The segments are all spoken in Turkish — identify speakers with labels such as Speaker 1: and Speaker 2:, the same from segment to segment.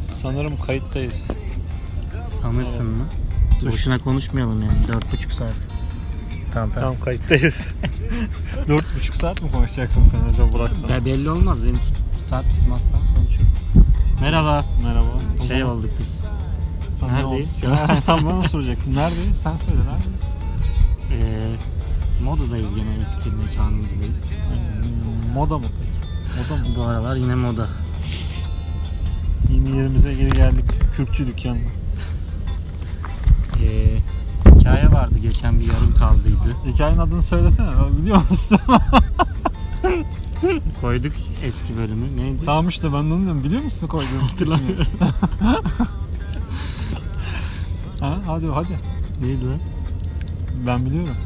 Speaker 1: Sanırım kayıttayız.
Speaker 2: Sanırsın mı? Boşuna konuşmayalım yani. Dört buçuk saat. Tamam tamam.
Speaker 1: Tam kayıttayız. Dört buçuk saat mi konuşacaksın sen acaba Burak sana?
Speaker 2: Ya belli şey olmaz. Beni tut, tutar tutmazsan konuşurum. Merhaba.
Speaker 1: Merhaba. O
Speaker 2: Şey
Speaker 1: zaman-
Speaker 2: olduk biz.
Speaker 1: Tam ne
Speaker 2: neredeyiz?
Speaker 1: oldu? Ya, Tam ben onu soracaktım. Neredeyiz? Sen söyle neredeyiz?
Speaker 2: Ee, modadayız gene eski mekanımızdayız.
Speaker 1: Hmm, Moda mı peki? Moda mı?
Speaker 2: Bu aralar yine moda.
Speaker 1: Yeni yerimize geri geldik. Kürkçü dükkanına.
Speaker 2: Ee, hikaye vardı geçen bir yarım kaldıydı.
Speaker 1: Hikayenin adını söylesene. ben Biliyor musun?
Speaker 2: Koyduk eski bölümü. Neydi?
Speaker 1: tamam işte ben de onu diyorum. Biliyor musun koyduğum ismi? ha, hadi hadi.
Speaker 2: Neydi lan?
Speaker 1: Ben biliyorum.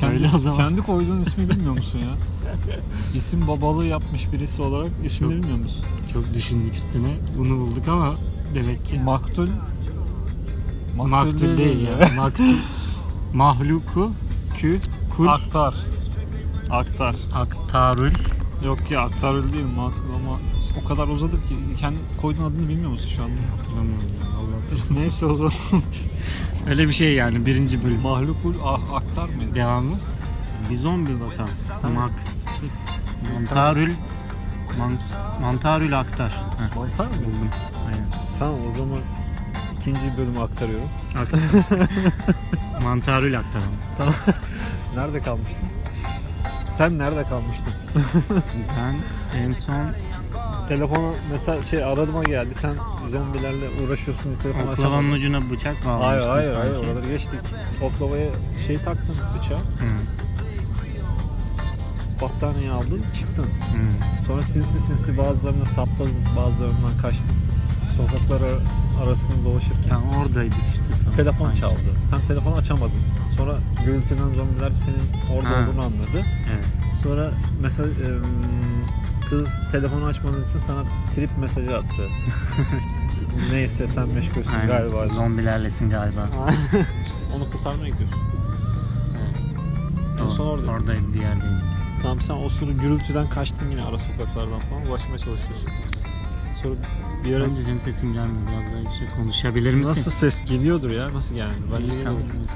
Speaker 2: Söyle o zaman.
Speaker 1: Kendi koyduğun ismi bilmiyor musun ya? İsim babalığı yapmış birisi olarak ismini
Speaker 2: Yok.
Speaker 1: bilmiyor musun?
Speaker 2: Çok düşündük üstüne. Bunu bulduk ama demek ki
Speaker 1: Maktul
Speaker 2: maktul değil ya. Maktul. Mahluku kü kul
Speaker 1: Aktar. Aktar.
Speaker 2: aktarül
Speaker 1: Yok ya aktarül değil maktul ama o kadar uzadık ki kendi koyduğun adını bilmiyor musun şu anda?
Speaker 2: Hatırlamıyorum ya, Allah hatırlamıyor.
Speaker 1: Neyse o zaman
Speaker 2: Öyle bir şey yani birinci bölüm.
Speaker 1: mahlukul ah, aktar mıydı?
Speaker 2: Devamı. Bir zombi vakası. Mak. Mantarül. Man- mantarül aktar. Heh,
Speaker 1: Mantar mı?
Speaker 2: buldum. Aynen.
Speaker 1: Tamam o zaman ikinci bölümü aktarıyorum.
Speaker 2: Aktar. mantarül aktar.
Speaker 1: Nerede kalmıştın? Sen nerede kalmıştın?
Speaker 2: Ben en son
Speaker 1: Telefona mesela şey aradıma geldi. Sen zombilerle uğraşıyorsun diye telefon
Speaker 2: oklavanın
Speaker 1: açamadın.
Speaker 2: ucuna bıçak
Speaker 1: Hayır
Speaker 2: bağlamıştım
Speaker 1: hayır hayır
Speaker 2: sanki.
Speaker 1: oraları geçtik. Oklavaya şey taktın bıçağı.
Speaker 2: Hı,
Speaker 1: Battaniye aldın çıktın.
Speaker 2: hı.
Speaker 1: Sonra sinsi sinsi bazılarına sapladın bazılarından kaçtın. Sokaklara arasında dolaşırken.
Speaker 2: Ya oradaydık işte. tam
Speaker 1: Telefon
Speaker 2: sanki.
Speaker 1: çaldı. Sen telefonu açamadın. Sonra gürültüden zombiler senin orada
Speaker 2: Ha.
Speaker 1: olduğunu anladı.
Speaker 2: Evet.
Speaker 1: Sonra mesela em, kız telefonu açmadığın için sana trip mesajı attı. Neyse sen meşgulsün
Speaker 2: Aynen.
Speaker 1: galiba.
Speaker 2: Zombilerlesin galiba.
Speaker 1: Onu kurtarmaya gidiyorsun. En
Speaker 2: Doğru.
Speaker 1: son orada.
Speaker 2: Oradaydı bir yerdeydi.
Speaker 1: Tamam sen o sırada gürültüden kaçtın yine ara sokaklardan falan ulaşmaya çalışıyorsun. Sonra bir ara
Speaker 2: Ben sizin sesim gelmiyor. Biraz daha yüksek konuşabilir misin?
Speaker 1: nasıl ses geliyordur ya nasıl geldi? Bence
Speaker 2: İyi, tamam.
Speaker 1: geliyordur.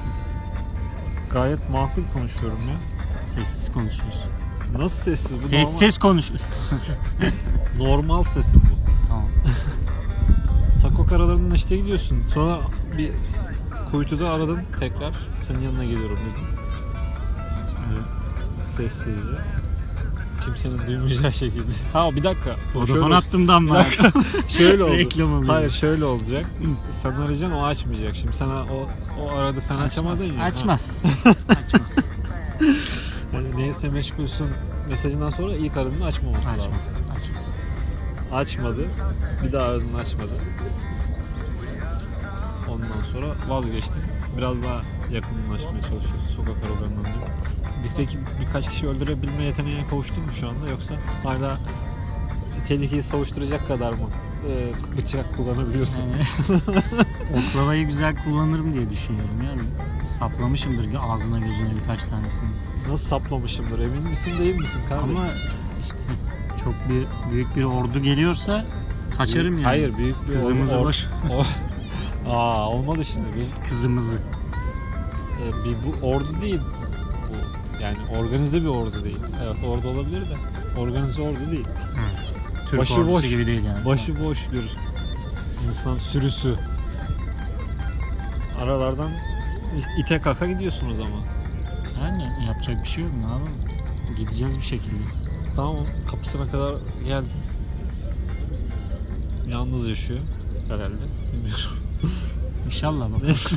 Speaker 1: Gayet makul konuşuyorum ya.
Speaker 2: Sessiz konuşuyoruz.
Speaker 1: Nasıl sessiz? Bu Normal,
Speaker 2: Sessiz konuşuyoruz.
Speaker 1: normal sesim bu.
Speaker 2: tamam.
Speaker 1: Sakok aralarından işte gidiyorsun. Sonra bir kuytuda aradın tekrar. Senin yanına geliyorum dedim. Böyle Sessizce. Kimsenin duymayacağı şekilde. Ha bir dakika.
Speaker 2: Vodafone attımdan
Speaker 1: Bir
Speaker 2: bana.
Speaker 1: dakika. Şöyle oldu.
Speaker 2: Reklam alıyor.
Speaker 1: Hayır şöyle olacak. Sen arayacaksın o açmayacak şimdi. Sana o, o arada sen açamadın ya. Ha.
Speaker 2: Açmaz. Açmaz.
Speaker 1: Yani e, neyse meşgulsün mesajından sonra ilk aradığını açmaması lazım.
Speaker 2: Açmaz. Açmaz.
Speaker 1: Açmadı. Bir daha aradığını açmadı. Ondan sonra vazgeçtim. Biraz daha yakınlaşmaya çalışıyoruz sokak aralarından. Bir- Peki birkaç kişi öldürebilme yeteneğine kavuştun mu şu anda yoksa hala tehlikeyi savuşturacak kadar mı e, bıçak kullanabiliyorsun?
Speaker 2: Yani oklavayı güzel kullanırım diye düşünüyorum yani. Saplamışımdır ki ağzına gözüne birkaç tanesini.
Speaker 1: Nasıl saplamışımdır emin misin değil misin kardeşim?
Speaker 2: Ama işte çok bir büyük bir ordu geliyorsa kaçarım yani.
Speaker 1: Hayır büyük bir
Speaker 2: Kızımızı
Speaker 1: or-
Speaker 2: boş.
Speaker 1: or- Aa olmadı şimdi bir,
Speaker 2: Kızımızı.
Speaker 1: e, bir bu ordu değil bu yani organize bir ordu değil. Evet ordu olabilir de organize ordu değil.
Speaker 2: Hı. Türk
Speaker 1: Başı
Speaker 2: ordusu
Speaker 1: boş.
Speaker 2: gibi değil yani.
Speaker 1: Başı boş bir insan sürüsü. Aralardan işte ite kaka gidiyorsunuz ama.
Speaker 2: Yani yapacak bir şey yok. Ne yapalım? Gideceğiz bir şekilde.
Speaker 1: Tamam onun kapısına kadar geldi. Yalnız yaşıyor herhalde. Bilmiyorum.
Speaker 2: İnşallah bak.
Speaker 1: Neyse.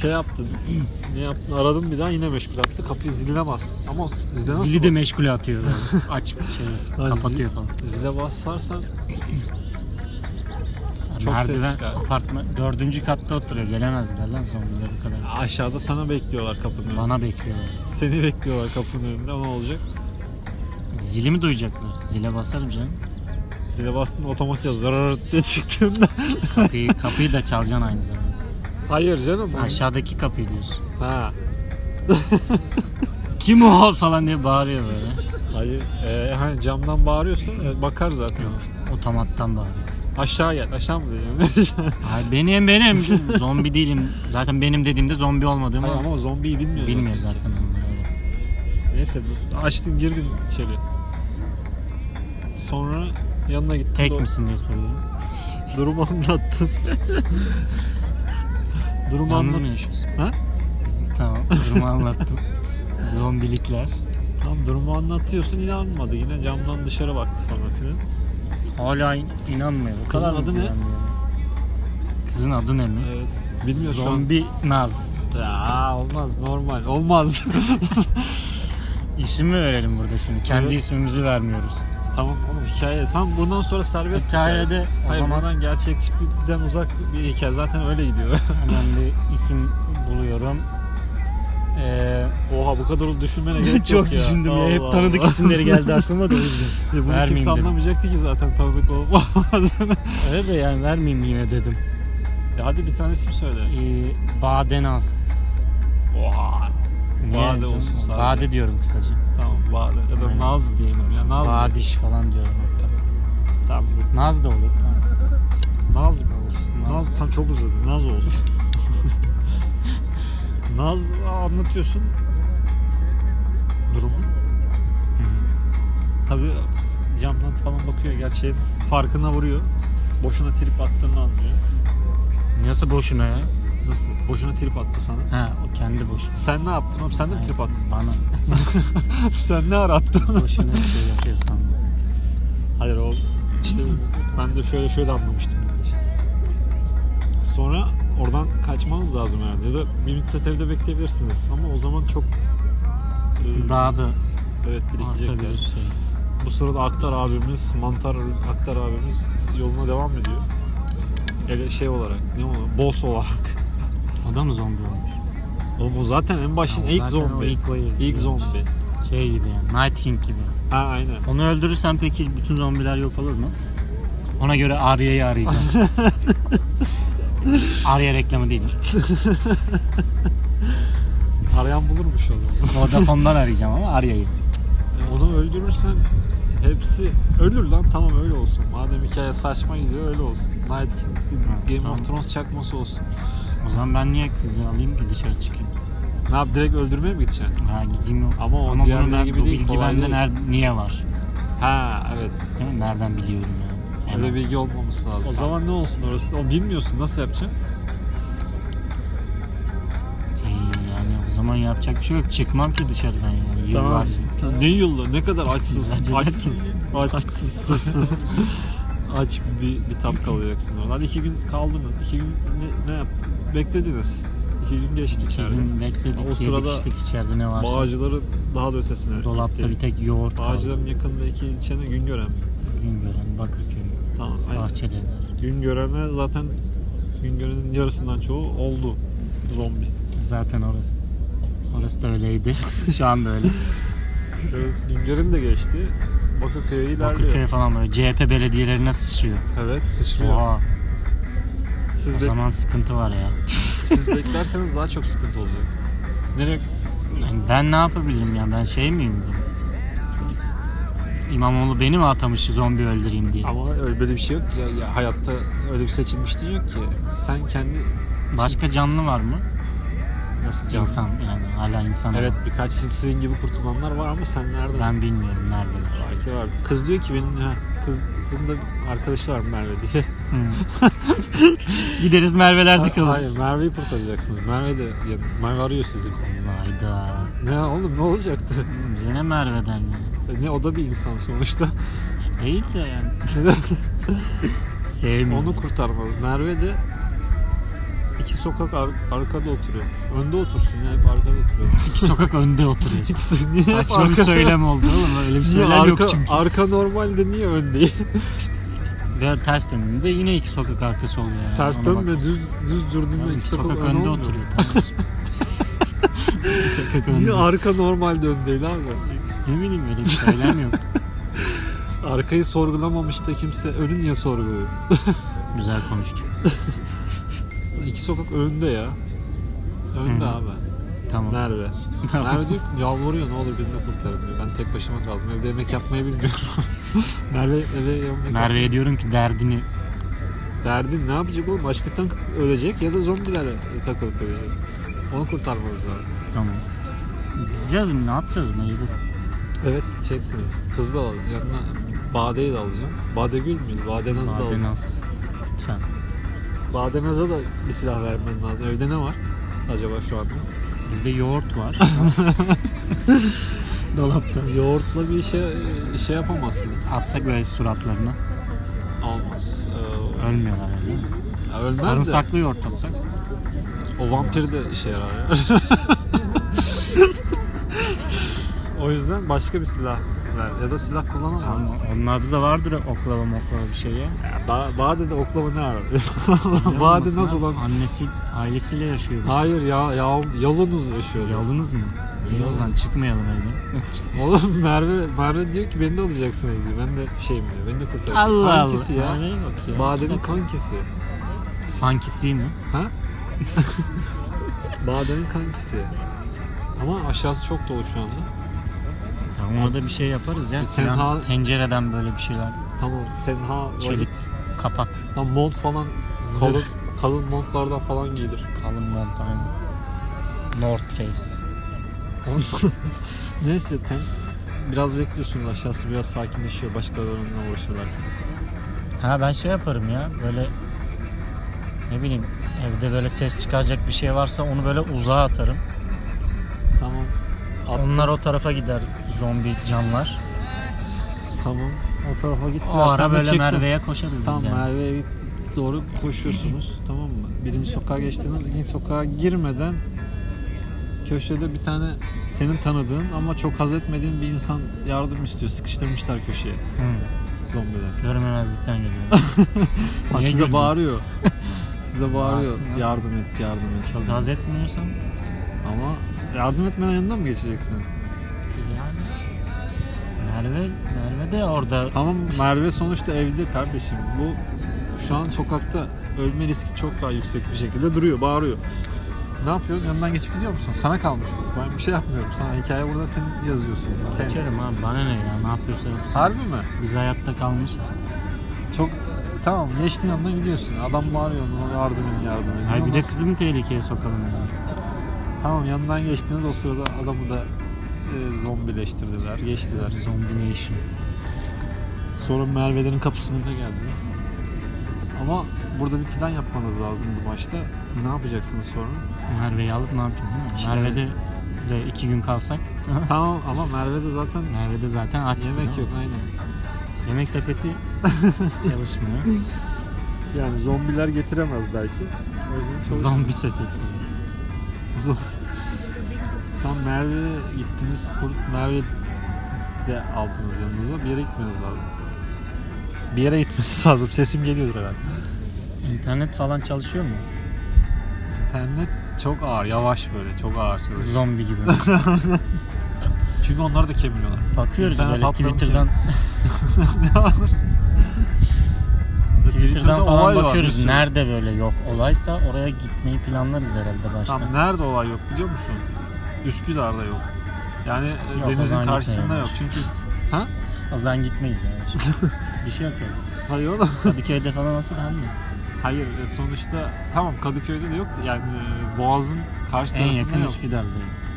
Speaker 1: şey yaptın. ne yaptın? Aradım bir daha yine meşgul attı. Kapıyı zile bas. Ama zile nasıl
Speaker 2: Zili de meşgule atıyor. böyle. Aç şey kapatıyor falan.
Speaker 1: bas- Zile basarsan Çok ses
Speaker 2: Merdiven
Speaker 1: çıkar.
Speaker 2: apartman dördüncü katta oturuyor. Gelemezler lan zombiler bu kadar.
Speaker 1: aşağıda sana bekliyorlar kapının önünde.
Speaker 2: Bana bekliyorlar.
Speaker 1: Seni bekliyorlar kapının önünde. O Ne olacak?
Speaker 2: Zili mi duyacaklar? Zile basarım canım.
Speaker 1: Zile bastın otomatik zarar diye çıktığında.
Speaker 2: Kapıyı, kapıyı da çalacaksın aynı zamanda.
Speaker 1: Hayır canım.
Speaker 2: Aşağıdaki kapıyı diyorsun.
Speaker 1: Ha.
Speaker 2: Kim o falan diye bağırıyor böyle.
Speaker 1: Hayır. Ee, hani camdan bağırıyorsun e, bakar zaten.
Speaker 2: Yok. O otomattan bağlı.
Speaker 1: Aşağı gel. Aşağı mı diyeceğim?
Speaker 2: Hayır, benim benim zombi değilim. Zaten benim dediğimde zombi olmadığımı
Speaker 1: Hayır ama zombiyi bilmiyor.
Speaker 2: bilmiyor
Speaker 1: ki.
Speaker 2: zaten. onlar.
Speaker 1: Neyse bu- açtın girdin içeri. Sonra yanına gittin.
Speaker 2: Tek
Speaker 1: do-
Speaker 2: misin diye soruyorum.
Speaker 1: Durumu anlattın. durumu
Speaker 2: Yalnız mı
Speaker 1: anlattın.
Speaker 2: yaşıyorsun?
Speaker 1: Ha?
Speaker 2: Tamam durumu anlattım. Zombilikler.
Speaker 1: Tam durumu anlatıyorsun inanmadı. Yine camdan dışarı baktı falan filan.
Speaker 2: Hala in- inanmıyor. Bu kadar
Speaker 1: Kızın
Speaker 2: mı
Speaker 1: adı ne?
Speaker 2: güvenmiyor? Kızın adı ne mi?
Speaker 1: Ee, bilmiyor şu an.
Speaker 2: Zombi Naz.
Speaker 1: Aa, olmaz normal olmaz.
Speaker 2: İsmi mi verelim burada şimdi? Kendi
Speaker 1: Evet.
Speaker 2: ismimizi vermiyoruz.
Speaker 1: tamam oğlum hikaye. Sen bundan sonra serbest
Speaker 2: Hikayede
Speaker 1: hikayesi.
Speaker 2: o
Speaker 1: Hayır
Speaker 2: zaman-
Speaker 1: bundan gerçekçilikten uzak bir hikaye. Zaten öyle gidiyor.
Speaker 2: Hemen bir isim buluyorum. Ee,
Speaker 1: Oha bu kadar düşünmene gerek yok
Speaker 2: çok
Speaker 1: ya.
Speaker 2: düşündüm ya. Hep
Speaker 1: Allah
Speaker 2: tanıdık
Speaker 1: Allah.
Speaker 2: isimleri geldi aklıma da o yüzden.
Speaker 1: Ya bunu
Speaker 2: Vermeyeyim
Speaker 1: kimse
Speaker 2: dedim.
Speaker 1: anlamayacaktı ki zaten tanıdık olup olmadığını.
Speaker 2: Öyle de yani vermeyeyim yine dedim.
Speaker 1: Ya hadi bir tane isim söyle.
Speaker 2: Ee, Badenaz.
Speaker 1: Oha.
Speaker 2: Niye
Speaker 1: Bade
Speaker 2: canım?
Speaker 1: olsun sadece.
Speaker 2: Bade diyorum kısaca.
Speaker 1: Tamam Bade ya da
Speaker 2: Aynen.
Speaker 1: Naz diyelim ya. Naz diyelim.
Speaker 2: Badiş falan diyorum hatta.
Speaker 1: Tamam.
Speaker 2: Naz da olur. Tamam.
Speaker 1: Naz mı olsun? Naz,
Speaker 2: Naz.
Speaker 1: tam çok uzadı. Naz olsun. Naz anlatıyorsun durumu. Tabii camdan falan bakıyor gerçeğin farkına vuruyor. Boşuna trip attığını anlıyor.
Speaker 2: Nasıl boşuna ya?
Speaker 1: Nasıl? Boşuna trip attı sana.
Speaker 2: Ha o kendi boşuna.
Speaker 1: Sen ne yaptın oğlum? Sen de mi trip attın?
Speaker 2: Bana
Speaker 1: Sen ne arattın?
Speaker 2: boşuna bir şey yapıyor sandım.
Speaker 1: Hayır o işte ben de şöyle şöyle anlamıştım. yani işte. Sonra oradan kaçmanız lazım herhalde. Ya da bir müddet evde bekleyebilirsiniz. Ama o zaman çok e,
Speaker 2: Daha da
Speaker 1: evet birikecekler.
Speaker 2: artabilir şey.
Speaker 1: Bu sırada Aktar abimiz, Mantar Aktar abimiz yoluna devam ediyor. Ele şey olarak ne olur? Boss olarak.
Speaker 2: O da mı zombi olmuş?
Speaker 1: Oğlum o zaten en başın
Speaker 2: Ya o
Speaker 1: ilk
Speaker 2: zaten o
Speaker 1: zombi.
Speaker 2: ilk wave.
Speaker 1: İlk zombi.
Speaker 2: Şey gibi yani Nighting gibi.
Speaker 1: Ha aynen.
Speaker 2: Onu öldürürsen peki bütün zombiler yok olur mu? Ona göre Arya'yı arayacağım. Arya reklamı değil.
Speaker 1: Arayan bulurmuş onu.
Speaker 2: Vodafone'dan arayacağım ama Arya'yı.
Speaker 1: E, Onu öldürürsen hepsi ölür lan tamam öyle olsun. Madem hikaye saçma gidiyor öyle olsun. Night King, Game
Speaker 2: tamam.
Speaker 1: of Thrones çakması olsun.
Speaker 2: O zaman ben niye kızı alayım ki dışarı çıkayım?
Speaker 1: Ne yap direkt öldürmeye mi gideceksin?
Speaker 2: Ha gideyim
Speaker 1: Ama o
Speaker 2: ama
Speaker 1: diğerleri
Speaker 2: bunu ben,
Speaker 1: gibi
Speaker 2: bu
Speaker 1: değil,
Speaker 2: bilgi
Speaker 1: kolay
Speaker 2: bende
Speaker 1: değil.
Speaker 2: ner- niye var?
Speaker 1: Ha evet.
Speaker 2: Değil mi? Nereden biliyorum yani?
Speaker 1: Öyle
Speaker 2: Hemen.
Speaker 1: bilgi olmaması lazım. O
Speaker 2: Sen-
Speaker 1: zaman ne olsun orası? O bilmiyorsun nasıl yapacaksın?
Speaker 2: Şey, yani o zaman yapacak bir şey yok. Çıkmam ki dışarıdan yani. Yıllarca.
Speaker 1: Ne yılla? Ne kadar açsız.
Speaker 2: Yıllarca
Speaker 1: açsız. Açsız.
Speaker 2: Sızsız.
Speaker 1: Aç bir, bir tap kalacaksın orada. Hadi iki gün kaldı mı? İki gün ne, ne yap? Beklediniz. İki gün geçti içeride.
Speaker 2: Bugün bekledik,
Speaker 1: O
Speaker 2: yedik,
Speaker 1: sırada
Speaker 2: içtik içeride ne varsa.
Speaker 1: Bağcıların daha da ötesine
Speaker 2: Dolapta
Speaker 1: gitti.
Speaker 2: bir tek yoğurt kaldı.
Speaker 1: Bağcıların yakında iki ilçenin Güngören.
Speaker 2: Güngören, Bakırköy,
Speaker 1: Tamam. Aynen.
Speaker 2: Bahçeli.
Speaker 1: Güngören'e zaten Güngören'in yarısından çoğu oldu zombi.
Speaker 2: Zaten orası. Orası da öyleydi. Şu anda öyle.
Speaker 1: Evet, Güngören de geçti. Bakırköy'e ilerliyor.
Speaker 2: Bakırköy falan böyle CHP belediyelerine sıçrıyor.
Speaker 1: Evet sıçrıyor.
Speaker 2: Oha.
Speaker 1: Siz,
Speaker 2: O
Speaker 1: bek-
Speaker 2: zaman sıkıntı var ya.
Speaker 1: siz beklerseniz daha çok sıkıntı olacak. Nereye?
Speaker 2: Yani ben ne yapabilirim ya? Ben şey miyim? İmamoğlu beni mi atamış zombi öldüreyim diye?
Speaker 1: Ama öyle böyle bir şey yok ki. Ya, ya hayatta öyle bir seçilmiştin yok ki. Sen kendi için-
Speaker 2: Başka canlı var mı?
Speaker 1: nasıl canlı?
Speaker 2: İnsan yani hala insan
Speaker 1: Evet
Speaker 2: ama.
Speaker 1: birkaç sizin gibi kurtulanlar var ama sen nereden?
Speaker 2: Ben bilmiyorum neredeler.
Speaker 1: Belki vardı. Kız diyor ki benim ha, kız bunun da arkadaşı var Merve diye.
Speaker 2: Hmm. Gideriz Merve'lerde
Speaker 1: Hayır
Speaker 2: kalırız.
Speaker 1: Merve'yi kurtaracaksınız. Merve de ya, Merve arıyor sizi.
Speaker 2: Hayda.
Speaker 1: Ne oğlum ne olacaktı? E,
Speaker 2: Bize ne Merve'den ya?
Speaker 1: Ne o da bir insan sonuçta.
Speaker 2: Değil de yani. Sevmiyorum.
Speaker 1: Onu kurtarmalı. Merve de iki sokak ar- arkada oturuyor. Önde otursun ya hep arkada oturuyor.
Speaker 2: iki sokak önde oturuyor.
Speaker 1: İkisi niye hep
Speaker 2: Saçma bir
Speaker 1: arkada-
Speaker 2: söylem oldu oğlum. Öyle
Speaker 1: Niye
Speaker 2: bir söylem
Speaker 1: arka,
Speaker 2: yok çünkü.
Speaker 1: arka normalde niye ön değil?
Speaker 2: Ve ters döndüğümde yine iki sokak arkası oluyor. Yani.
Speaker 1: Ters
Speaker 2: Ona
Speaker 1: dönme
Speaker 2: bak.
Speaker 1: düz düz durduğunda
Speaker 2: Tamam,
Speaker 1: iki
Speaker 2: sokak,
Speaker 1: sokak, ön
Speaker 2: önde
Speaker 1: olmuyor.
Speaker 2: oturuyor. Tamam. iki sokak önde.
Speaker 1: Niye arka normalde ön değil abi?
Speaker 2: Ne bileyim öyle bir söylem yok.
Speaker 1: Arkayı sorgulamamış da kimse önü niye sorguluyor?
Speaker 2: Güzel konuştuk.
Speaker 1: İki sokak önde ya. Önde
Speaker 2: Hı hı.
Speaker 1: abi.
Speaker 2: Tamam.
Speaker 1: Merve.
Speaker 2: Tamam.
Speaker 1: Merve diyor ki, yalvarıyor ne olur birini kurtarın diyor. Ben tek başıma kaldım. Evde yemek yapmayı bilmiyorum. Merve eve yemek
Speaker 2: Merve'ye diyorum ki derdini
Speaker 1: Derdin ne yapacak oğlum? Açlıktan ölecek ya da zombilere takılıp ölecek. Onu kurtarmamız lazım.
Speaker 2: tamam. Gideceğiz mi? Ne yapacağız? Mecbur.
Speaker 1: Evet gideceksiniz. Kız da alın. Yanına Bade'yi de alacağım. Bade Gül müydü? Bade Naz'ı da alın.
Speaker 2: Badenaz. Lütfen.
Speaker 1: Bade Naz'a da bir silah vermen lazım. Evde ne var? Acaba şu anda?
Speaker 2: Burada yoğurt var.
Speaker 1: Dolapta. Yoğurtla bir işe, işe yapamazsınız.
Speaker 2: Atsak böyle suratlarına.
Speaker 1: Olmaz.
Speaker 2: Ölmüyorlar öyle. değil mi?
Speaker 1: Ee, ya ölmez de.
Speaker 2: Sarımsaklı yoğurt atsak.
Speaker 1: O vampir de işe yarar. o yüzden başka bir silah ver. Ya da silah kullanamaz.
Speaker 2: Ama onlarda da vardır oklava moklava bir şey ya.
Speaker 1: Ba Bade'de oklama ne arar? Bade
Speaker 2: Olmasına
Speaker 1: nasıl olan?
Speaker 2: Annesi, ailesiyle yaşıyor. bu.
Speaker 1: Hayır ya, ya yalınız yaşıyor.
Speaker 2: Yalınız mı? İyi o zaman çıkmayalım evden.
Speaker 1: Oğlum Merve, Merve diyor ki beni de alacaksınız diyor. Ben de şeyim diyor, beni de kurtarın. Kankisi ya.
Speaker 2: Nereye bak ya.
Speaker 1: Bade'nin kankisi.
Speaker 2: Fankisi mi?
Speaker 1: Ha? Bade'nin kankisi. Ama aşağısı çok dolu şu anda.
Speaker 2: Tamam ona da bir şey yaparız ya.
Speaker 1: Bir
Speaker 2: Sinan
Speaker 1: tenha-
Speaker 2: tencereden böyle bir şeyler.
Speaker 1: Tamam tenha
Speaker 2: Çelik kapak.
Speaker 1: Tam mont falan
Speaker 2: Zırh.
Speaker 1: kalın, kalın montlardan falan giyilir.
Speaker 2: Kalın mont aynı. North Face.
Speaker 1: Neyse ten biraz bekliyorsunuz aşağısı biraz sakinleşiyor başkalarına uğraşıyorlar.
Speaker 2: Ha ben şey yaparım ya böyle ne bileyim evde böyle ses çıkaracak bir şey varsa onu böyle uzağa atarım.
Speaker 1: Tamam. Attım.
Speaker 2: Onlar o tarafa gider zombi canlar.
Speaker 1: Tamam. O tarafa gittiler.
Speaker 2: O ara
Speaker 1: sen de
Speaker 2: böyle
Speaker 1: çıktın.
Speaker 2: Merve'ye koşarız
Speaker 1: Tamam
Speaker 2: biz yani.
Speaker 1: Merve'ye git- doğru koşuyorsunuz. tamam mı? Birinci sokağa geçtiğiniz ikinci sokağa girmeden köşede bir tane senin tanıdığın ama çok haz etmediğin bir insan yardım istiyor. Sıkıştırmışlar köşeye
Speaker 2: Hı,
Speaker 1: zombiler.
Speaker 2: görmemezlikten geliyorum.
Speaker 1: Ha,
Speaker 2: Niye
Speaker 1: size
Speaker 2: güldün?
Speaker 1: bağırıyor. size bağırıyor.
Speaker 2: Bağırsın ya.
Speaker 1: Yardım et, yardım et.
Speaker 2: Çok haz etmiyorsan
Speaker 1: Ama yardım etmeden yanından mı geçeceksin?
Speaker 2: yani Merve, Merve de orada
Speaker 1: Tamam Merve sonuçta evde kardeşim. Bu şu an sokakta ölme riski çok daha yüksek bir şekilde duruyor, bağırıyor. Ne yapıyorsun? Yanından geçip gidiyor musun? Sana kalmış. bu. Ben bir şey yapmıyorum. Sana hikaye burada sen yazıyorsun. Sen.
Speaker 2: seçerim abi bana ne ya ne yapıyorsa yapsın.
Speaker 1: Harbi mi?
Speaker 2: Biz hayatta kalmışız.
Speaker 1: Çok tamam geçtiğin yandan gidiyorsun. Adam bağırıyor ona yardım edin yardım edin.
Speaker 2: Hayır bir
Speaker 1: Ondan
Speaker 2: de kızı mı tehlikeye sokalım ya?
Speaker 1: sonra- Tamam yanından geçtiniz o sırada adamı da e, zombileştirdiler. Geçtiler.
Speaker 2: Zombi nation.
Speaker 1: Sonra Merve'lerin kapısının önüne geldiniz. Ama burada bir plan yapmanız lazım bu maçta. Ne yapacaksınız sonra?
Speaker 2: Merve'yi alıp ne yapacağız değil mi?
Speaker 1: İşte-
Speaker 2: Merve'de de iki gün kalsak.
Speaker 1: tamam ama Merve'de zaten
Speaker 2: Merve'de zaten açtı.
Speaker 1: yemek
Speaker 2: değil mi?
Speaker 1: yok aynen.
Speaker 2: Yemek sepeti çalışmıyor.
Speaker 1: Yani zombiler getiremez belki. O yüzden çalış-
Speaker 2: Zombi sepeti.
Speaker 1: Zom- Tam Merve'ye gittiniz. Kurt Merve de aldınız yanınıza. Bir yere gitmeniz lazım. Bir yere gitmeniz lazım. Sesim geliyordur herhalde.
Speaker 2: İnternet falan çalışıyor mu?
Speaker 1: İnternet çok ağır, yavaş böyle. Çok ağır çalışıyor.
Speaker 2: Zombi gibi.
Speaker 1: Çünkü onlar da kemiyorlar.
Speaker 2: Bakıyoruz
Speaker 1: İnternet
Speaker 2: böyle
Speaker 1: hatlarını
Speaker 2: Twitter'dan
Speaker 1: Twitter'da
Speaker 2: Twitter'dan falan
Speaker 1: olay var, bir
Speaker 2: bakıyoruz.
Speaker 1: sürü.
Speaker 2: Nerede böyle yok olaysa oraya gitmeyi planlarız herhalde başta.
Speaker 1: Tam nerede olay yok biliyor musun? Üsküdar'da yok. Yani e,
Speaker 2: Yok, o
Speaker 1: denizin
Speaker 2: zaman
Speaker 1: karşısında yok.
Speaker 2: gitmiyorlar.
Speaker 1: Çünkü ha?
Speaker 2: O zaman gitmeyiz yani. bir şey yok yani.
Speaker 1: Hayır oğlum.
Speaker 2: Kadıköy'de falan olsa daha mı?
Speaker 1: Hayır e, sonuçta tamam Kadıköy'de de yok da yani e, Boğaz'ın karşı
Speaker 2: En
Speaker 1: tarafında
Speaker 2: yakın
Speaker 1: yok.
Speaker 2: Üsküdar'da.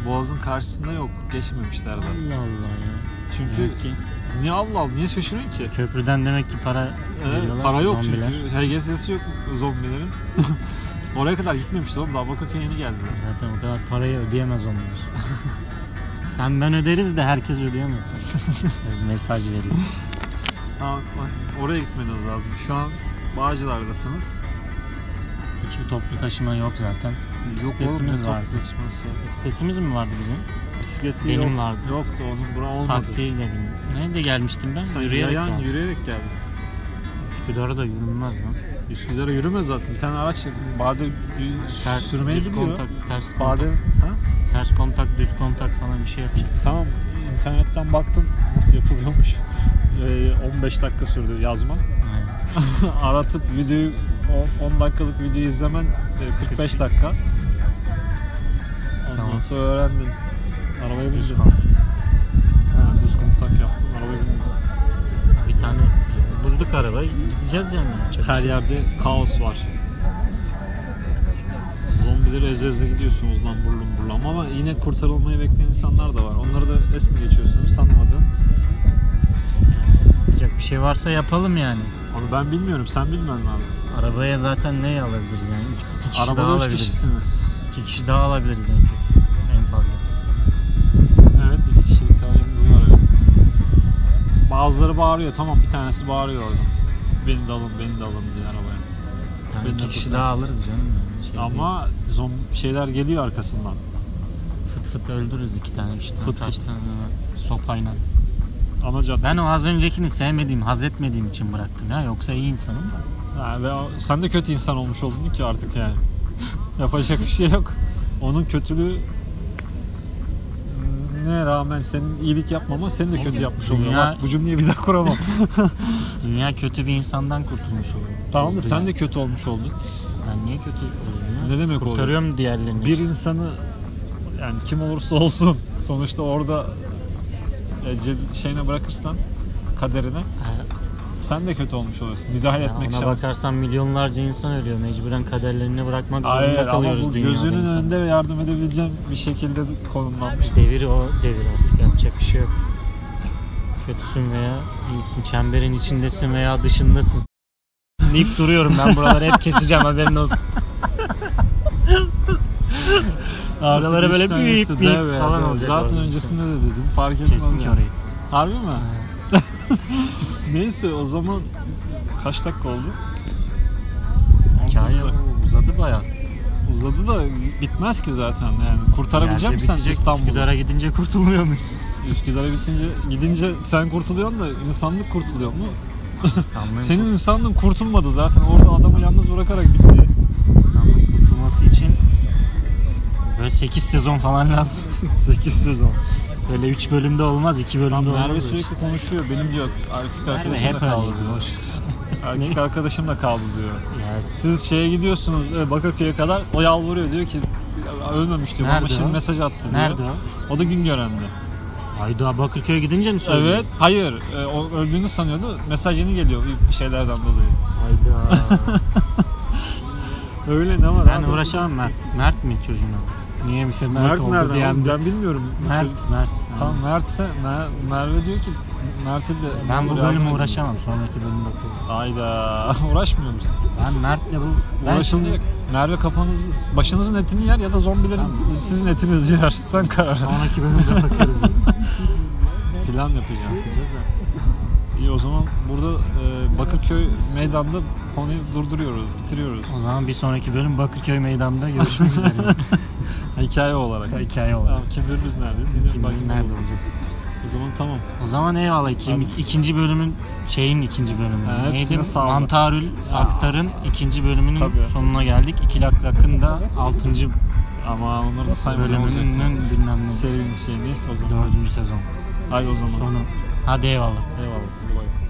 Speaker 1: Boğaz'ın karşısında yok. Geçmemişler de.
Speaker 2: Allah Allah ya.
Speaker 1: Çünkü
Speaker 2: Demek ki
Speaker 1: niye Allah Allah niye şaşırıyorsun ki?
Speaker 2: köprüden demek ki para
Speaker 1: E,
Speaker 2: veriyorlar.
Speaker 1: para yok
Speaker 2: zombiler.
Speaker 1: çünkü. HGS'si yok zombilerin. Oraya kadar gitmemişler oğlum. Daha Bakırköy'e yeni geldiler.
Speaker 2: Zaten o kadar parayı ödeyemez onlar. Sen ben öderiz de herkes ödeyemez. Mesaj veriyor.
Speaker 1: Ha, bak, oraya gitmeniz lazım. Şu an Bağcılar'dasınız.
Speaker 2: Hiçbir toplu taşıma yok zaten. Bisikletimiz
Speaker 1: ne
Speaker 2: vardı.
Speaker 1: toplaşması.
Speaker 2: Bisikletimiz mi vardı bizim?
Speaker 1: Bisikleti
Speaker 2: Benim
Speaker 1: yok,
Speaker 2: vardı.
Speaker 1: Yoktu onun bura olmadı.
Speaker 2: Taksiyle bindim. Nerede gelmiştim ben?
Speaker 1: Sen
Speaker 2: Yürüyerek
Speaker 1: yayan
Speaker 2: geldim.
Speaker 1: yürüyerek geldin.
Speaker 2: Üsküdar'a da yürünmez lan.
Speaker 1: Üsküdar'a yürüme zaten. Bir tane araç Bahadır
Speaker 2: Ters,
Speaker 1: sürmeyi
Speaker 2: düz
Speaker 1: biliyor.
Speaker 2: kontak, ters kontak,
Speaker 1: Bahadır ha?
Speaker 2: ters kontak, düz kontak falan bir şey yapacak.
Speaker 1: Tamam internetten baktım nasıl yapılıyormuş. Ee, 15 dakika sürdü yazman.
Speaker 2: Aynen.
Speaker 1: Aratıp videoyu o 10 dakikalık videoyu izlemen e, 45 dakika. Ondan
Speaker 2: Tamam.
Speaker 1: Bastığı öğrendin. Arabaya bindin.
Speaker 2: Düz
Speaker 1: Ha, düz kontak yaptın. Arabaya bindin.
Speaker 2: Bir tane e, bulduk araba gideceğiz yani.
Speaker 1: Her yerde kaos var. Zombileri eze eze gidiyorsunuz lan burlum burlam ama yine kurtarılmayı bekleyen insanlar da var. Onları da es mi geçiyorsunuz tanımadığın?
Speaker 2: Yapacak bir şey varsa yapalım yani.
Speaker 1: Onu ben bilmiyorum sen bilmen lazım.
Speaker 2: Arabaya zaten ne alabiliriz yani? İki- İki kişi daha
Speaker 1: Arabada üç
Speaker 2: alabiliriz.
Speaker 1: kişisiniz.
Speaker 2: İki kişi daha alabiliriz en kötü. En fazla.
Speaker 1: Evet iki kişilik halimiz var evet. Bazıları bağırıyor tamam bir tanesi bağırıyor orada. Beni de alın beni de alın diye arabaya.
Speaker 2: Yani
Speaker 1: Ben de
Speaker 2: iki kişi
Speaker 1: kurtar-
Speaker 2: daha alırız canım. Yani. Şey
Speaker 1: Ama zom- şeyler geliyor arkasından.
Speaker 2: değil. Fıt fıt öldürürüz iki tane üç tane
Speaker 1: Fıt
Speaker 2: kaç
Speaker 1: fıt.
Speaker 2: tane var. Sopayla.
Speaker 1: Ana cadde.
Speaker 2: Ben o az öncekini sevmediğim, haz etmediğim için bıraktım ya. Yoksa iyi insanım da.
Speaker 1: Ha, ve o- sen de kötü insan olmuş oldun ki artık yani. Yapacak bir şey yok. Onun kötülüğü ne rağmen senin iyilik yapmama seni de kötü yapmış oluyor.
Speaker 2: dünya-
Speaker 1: Bak bu cümleyi bir daha kuramam.
Speaker 2: Dünya kötü bir insandan kurtulmuş oluyor.
Speaker 1: tamam da
Speaker 2: Oldu
Speaker 1: sen
Speaker 2: yani.
Speaker 1: de kötü olmuş oldun.
Speaker 2: Ben niye kötü olayım ya?
Speaker 1: Ne demek oluyor?
Speaker 2: Kurtarıyorum diğerlerini.
Speaker 1: bir insanı yani kim olursa olsun sonuçta orada ecel- şeyine bırakırsan kaderine
Speaker 2: Ha,
Speaker 1: sen de kötü olmuş olursun. Müdahale
Speaker 2: ya
Speaker 1: etmek
Speaker 2: ona
Speaker 1: şans.
Speaker 2: bakarsan milyonlarca insan ölüyor. Mecburen kaderlerini bırakmak zorunda
Speaker 1: Hayır ama
Speaker 2: kalıyoruz
Speaker 1: bu
Speaker 2: dünyada
Speaker 1: gözünün
Speaker 2: insanlar.
Speaker 1: önünde ve yardım edebileceğim bir şekilde konumlanmış.
Speaker 2: Devir o devir artık yapacak bir şey yok. Kötüsün veya iyisin. Çemberin içindesin veya dışındasın. Nip duruyorum ben buraları hep keseceğim haberin olsun.
Speaker 1: Artık
Speaker 2: Buralara
Speaker 1: üç
Speaker 2: böyle
Speaker 1: tane
Speaker 2: büyük
Speaker 1: işte
Speaker 2: büyük
Speaker 1: dev
Speaker 2: falan
Speaker 1: yani.
Speaker 2: olacak
Speaker 1: Zaten
Speaker 2: orada.
Speaker 1: öncesinde de dedim fark etmez.
Speaker 2: Kestim ki
Speaker 1: yani.
Speaker 2: orayı.
Speaker 1: Harbi mi? Neyse o zaman kaç dakika oldu?
Speaker 2: Hikaye
Speaker 1: 18 dakika.
Speaker 2: bu, uzadı bayağı.
Speaker 1: Uzadı da bitmez ki zaten yani. Kurtarabilecek
Speaker 2: Nerede
Speaker 1: misin sen
Speaker 2: bitecek?
Speaker 1: İstanbul'u?
Speaker 2: Üsküdar'a gidince kurtulmuyor muyuz?
Speaker 1: Üsküdar'a bitince gidince sen kurtuluyorsun da insanlık kurtuluyor mu?
Speaker 2: Sanmıyorum.
Speaker 1: Senin insanlığın kurtulmadı zaten. Orada adamı yalnız bırakarak bitti.
Speaker 2: İnsanlığın kurtulması için böyle 8 sezon falan lazım.
Speaker 1: 8 sezon.
Speaker 2: Böyle 3 bölümde olmaz, 2 bölümde olmaz.
Speaker 1: Merve sürekli konuşuyor. Benim diyor erkek
Speaker 2: Merve
Speaker 1: arkadaşım da
Speaker 2: hep
Speaker 1: kaldı
Speaker 2: öyle
Speaker 1: diyor. Erkek arkadaşım da kaldı diyor.
Speaker 2: Ya
Speaker 1: Siz şeye gidiyorsunuz e, Bakırköy'e kadar o yalvarıyor diyor ki ölmemiş diyor ama
Speaker 2: Nerede
Speaker 1: şimdi
Speaker 2: o?
Speaker 1: mesaj attı diyor.
Speaker 2: Nerede o?
Speaker 1: O da Güngören'de.
Speaker 2: Hayda Bakırköy'e gidince mi söyledin?
Speaker 1: Evet. Hayır. e, o öldüğünü sanıyordu. Mesaj yeni geliyor bir şeylerden dolayı.
Speaker 2: Hayda.
Speaker 1: Öyle ne var
Speaker 2: ben
Speaker 1: abi?
Speaker 2: uğraşamam Mert. Mert mi çocuğun adı? Niye şey Mert, Mert oldu
Speaker 1: nereden
Speaker 2: diyen
Speaker 1: oğlum?
Speaker 2: de.
Speaker 1: Ben bilmiyorum.
Speaker 2: Mert, Mert.
Speaker 1: Tamam Mert'se Mer- Merve diyor ki Mert'e de
Speaker 2: Ben bu
Speaker 1: yardım
Speaker 2: bölüme
Speaker 1: edin.
Speaker 2: uğraşamam. Sonraki bölüm bakıyorum.
Speaker 1: Hayda. Uğraşmıyor musun?
Speaker 2: Ben Mert'le bu... Ben
Speaker 1: Uğraşılacak.
Speaker 2: şimdi
Speaker 1: Merve kafanızı, başınızın etini yer ya da zombilerin sizin etinizi yer. Sen karar. ver.
Speaker 2: sonraki bölümde bakarız.
Speaker 1: Plan yapacağım. Yapacağız İyi o zaman burada e, Bakırköy meydanda konuyu durduruyoruz, bitiriyoruz.
Speaker 2: o zaman bir sonraki bölüm Bakırköy Meydanı'nda görüşmek üzere.
Speaker 1: Hikaye olarak.
Speaker 2: Hikaye
Speaker 1: Tamam,
Speaker 2: olur.
Speaker 1: kim bilir biz neredeyiz? Yine
Speaker 2: Kim bilir
Speaker 1: Bakırköy'de
Speaker 2: nerede
Speaker 1: olacağız.
Speaker 2: olacağız.
Speaker 1: O zaman tamam.
Speaker 2: O zaman eyvallah iki,
Speaker 1: Hadi.
Speaker 2: ikinci bölümün şeyin ikinci bölümü.
Speaker 1: Ha, hepsine
Speaker 2: Neydi?
Speaker 1: sağlık.
Speaker 2: Mantarül Aktar'ın ikinci bölümünün
Speaker 1: Tabii.
Speaker 2: sonuna geldik. İki lak lakın da altıncı
Speaker 1: Ama onları da saymadan olacak.
Speaker 2: bölümünün bilmem ne
Speaker 1: Serinin şey neyse o zaman.
Speaker 2: dördüncü sezon
Speaker 1: Haydi o zaman.
Speaker 2: sonu. Hadi eyvallah.
Speaker 1: Eyvallah. Hadi bay bay.